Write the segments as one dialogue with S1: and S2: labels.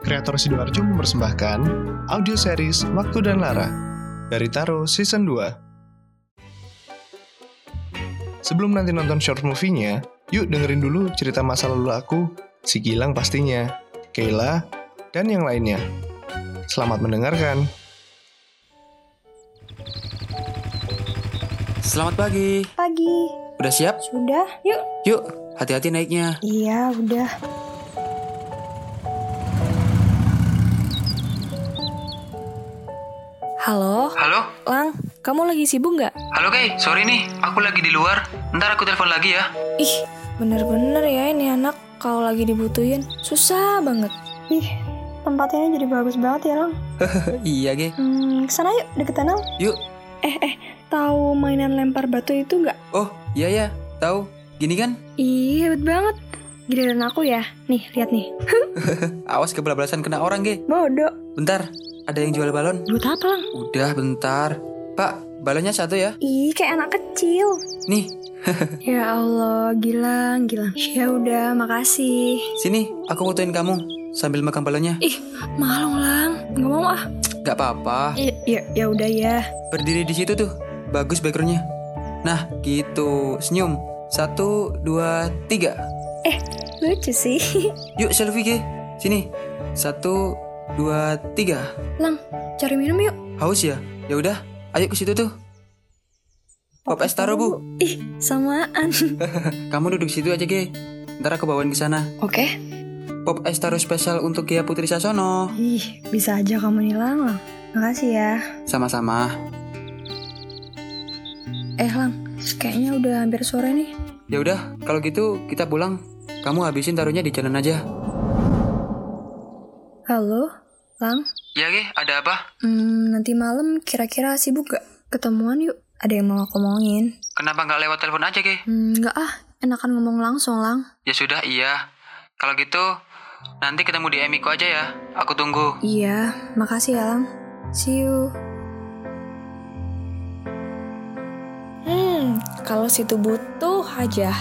S1: kreator Sidoarjo mempersembahkan audio series Waktu dan Lara dari Taro Season 2. Sebelum nanti nonton short movie-nya, yuk dengerin dulu cerita masa lalu aku, si Gilang pastinya, Kayla, dan yang lainnya. Selamat mendengarkan.
S2: Selamat pagi.
S3: Pagi.
S2: Udah siap?
S3: Sudah? Yuk.
S2: Yuk, hati-hati naiknya.
S3: Iya, udah.
S4: Halo,
S2: Halo?
S4: Lang, kamu lagi sibuk nggak?
S2: Halo, Kay. Sorry nih, aku lagi di luar. Ntar aku telepon lagi ya.
S4: Ih, bener-bener ya ini anak kalau lagi dibutuhin. Susah banget.
S3: Ih, tempatnya jadi bagus banget ya, Lang.
S2: iya, Ge.
S3: Hmm, kesana yuk, deketan Lang.
S2: Yuk.
S3: Eh, eh, tahu mainan lempar batu itu nggak?
S2: Oh, iya ya. Tahu. Gini kan?
S3: Ih, hebat banget. Giliran aku ya. Nih, lihat nih.
S2: Awas kebelasan kena orang, Ge.
S3: Bodoh.
S2: Bentar, ada yang jual balon.
S3: Buat apa, Lang?
S2: Udah, bentar. Pak, balonnya satu ya.
S3: Ih, kayak anak kecil.
S2: Nih,
S3: Ya Allah, Gilang, Gilang. Ya udah, makasih.
S2: sini. Aku fotoin kamu sambil megang balonnya.
S4: Ih, malu Lang. Nggak mau ah.
S2: Gak apa-apa.
S3: Ya, ya, ya udah ya.
S2: Berdiri di situ tuh. Bagus backgroundnya. Nah, gitu. Senyum. Satu, dua, tiga.
S4: Eh,
S3: Lucu sih.
S2: Yuk, selfie, Ge. Sini. Satu, dua, tiga.
S4: Lang, cari minum yuk.
S2: Haus ya? Ya udah, ayo ke situ tuh. Pop es taro, Bu.
S4: Ih, samaan.
S2: Kamu duduk situ aja, Ge. Ntar aku bawain ke sana.
S3: Oke.
S2: Pop es taro spesial untuk Gia Putri Sasono.
S3: Ih, bisa aja kamu nilang, Lang. Makasih ya.
S2: Sama-sama.
S4: eh, Lang, kayaknya udah hampir sore nih.
S2: Ya udah, kalau gitu kita pulang. Kamu habisin taruhnya di jalan aja.
S4: Halo, Lang.
S2: Iya, Ge, ada apa?
S4: Hmm, nanti malam kira-kira sibuk nggak? Ketemuan yuk. Ada yang mau aku omongin.
S2: Kenapa nggak lewat telepon aja, Ge?
S4: Hmm, nggak ah. Enakan ngomong langsung, Lang.
S2: Ya sudah, iya. Kalau gitu, nanti ketemu di Emiko aja ya. Aku tunggu.
S4: Iya, makasih ya, Lang. See you. Hmm, kalau situ butuh aja,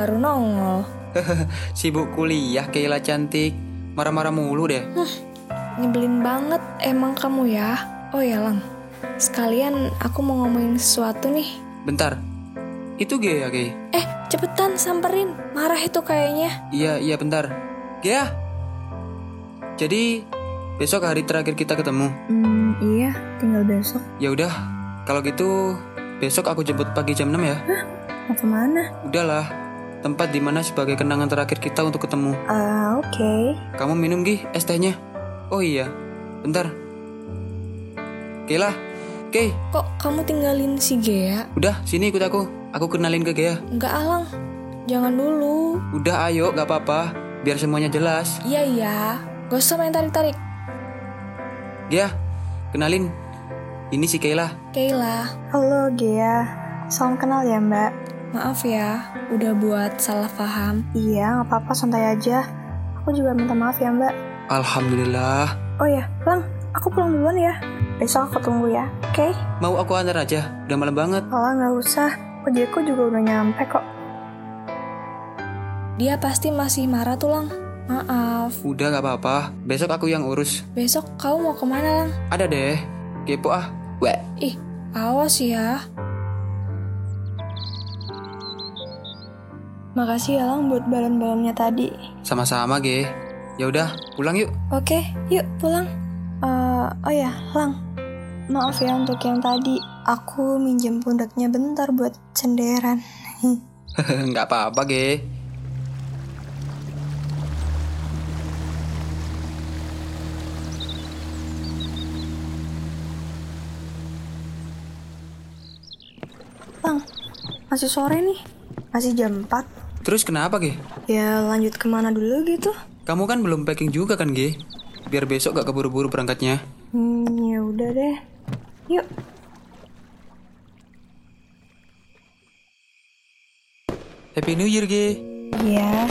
S4: baru nongol.
S2: Sibuk kuliah, Kayla cantik. Marah-marah mulu deh.
S4: Nyebelin banget emang kamu ya. Oh ya, Lang. Sekalian aku mau ngomongin sesuatu nih.
S2: Bentar. Itu Ge ya, Ge?
S4: Eh, cepetan samperin. Marah itu kayaknya.
S2: Iya, iya bentar. Gia. Jadi besok hari terakhir kita ketemu.
S3: Hmm, iya, tinggal besok.
S2: Ya udah, kalau gitu besok aku jemput pagi jam 6 ya.
S3: Mau kemana?
S2: Udahlah, tempat dimana sebagai kenangan terakhir kita untuk ketemu.
S3: Ah, oke.
S2: Kamu minum Gi es tehnya. Oh iya, bentar. Oke lah. Oke,
S4: Kok kamu tinggalin si Gea?
S2: udah sini ikut aku. Aku kenalin ke Gea.
S4: Enggak, ah, Lang. Jangan dulu.
S2: Udah ayo, gak apa-apa. Biar semuanya jelas.
S4: Iya, iya. Gak usah main tarik-tarik.
S2: Gea, Ya, kenalin. Ini si Kayla.
S4: Kayla,
S3: Halo, Gea. Salam kenal ya, Mbak.
S4: maaf ya. Udah buat salah paham.
S3: Iya, nggak apa-apa, santai aja. Aku juga minta maaf ya, Mbak.
S2: Alhamdulillah.
S3: Oh ya, Lang, aku pulang duluan ya. Besok aku tunggu ya, oke?
S2: Mau aku antar aja, udah malam banget.
S3: Kalau nggak usah, ojekku juga udah nyampe kok.
S4: Dia pasti masih marah tuh, Lang. Maaf.
S2: Udah gak apa-apa, besok aku yang urus.
S4: Besok kau mau kemana, Lang?
S2: Ada deh, kepo ah. Weh,
S4: Ih, awas ya.
S3: Makasih ya, Lang, buat balon-balonnya tadi.
S2: sama-sama ge. Ya udah, pulang yuk.
S4: Oke, yuk pulang.
S3: Eh, oh ya, Lang. Maaf ya untuk yang tadi. Aku minjem pundaknya bentar buat cenderan.
S2: Nggak apa-apa ge.
S3: Lang, masih sore nih. Masih jam 4.
S2: Terus kenapa ge?
S3: Ya, lanjut kemana dulu gitu?
S2: Kamu kan belum packing juga kan ge? Biar besok gak keburu-buru berangkatnya.
S3: Hmm, ya udah deh. Yuk.
S2: Happy New Year ge.
S3: Ya,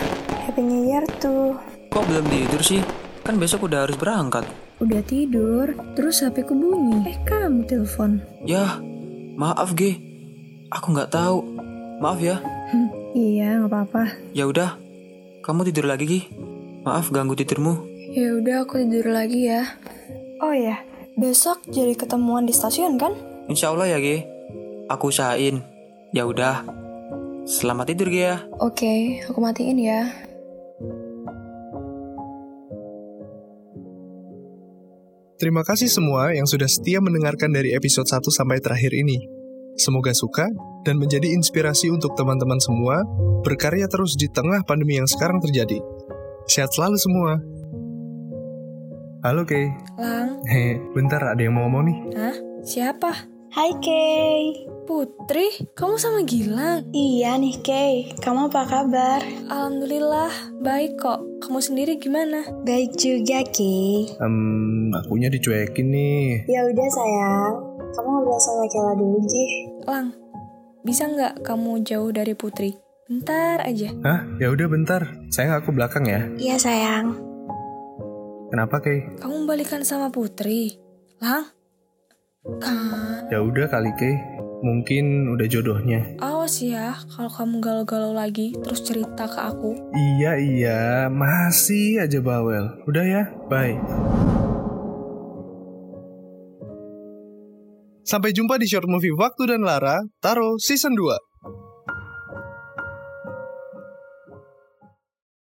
S3: Happy New Year tuh.
S2: Kok belum tidur sih? Kan besok udah harus berangkat.
S4: Udah tidur, terus HP ku bunyi. Eh, kamu telepon.
S2: Yah, Ya, maaf ge. Aku nggak tahu. Maaf ya.
S3: Iya, nggak apa-apa.
S2: Ya udah, kamu tidur lagi Gi. Maaf ganggu tidurmu.
S4: Ya udah aku tidur lagi ya.
S3: Oh
S4: iya,
S3: ya, besok jadi ketemuan di stasiun kan?
S2: Insya Allah ya, Ge. Aku usahain. Ya udah. Selamat tidur, Ge ya.
S4: Oke, aku matiin ya.
S1: Terima kasih semua yang sudah setia mendengarkan dari episode 1 sampai terakhir ini. Semoga suka dan menjadi inspirasi untuk teman-teman semua berkarya terus di tengah pandemi yang sekarang terjadi. Sehat selalu semua. Halo Kay,
S4: Lang,
S1: Hei, bentar ada yang mau ngomong nih.
S4: siapa?
S3: Hai Kay.
S4: Putri, kamu sama Gilang?
S3: Iya nih Kay, kamu apa kabar?
S4: Alhamdulillah, baik kok. Kamu sendiri gimana?
S3: Baik juga Kay.
S1: Hmm, akunya dicuekin nih.
S3: Ya udah sayang, kamu ngobrol sama Kela dulu Ji.
S4: Lang, bisa nggak kamu jauh dari Putri? Bentar aja.
S1: Hah? Ya udah bentar. Sayang aku belakang ya.
S3: Iya sayang.
S1: Kenapa Kay?
S4: Kamu balikan sama Putri. Lang, kan?
S1: Ya udah kali Kay. Mungkin udah jodohnya.
S4: Awas ya, kalau kamu galau-galau lagi, terus cerita ke aku.
S1: Iya iya, masih aja bawel. Udah ya, bye. Sampai jumpa di short movie Waktu dan Lara, Taro season 2.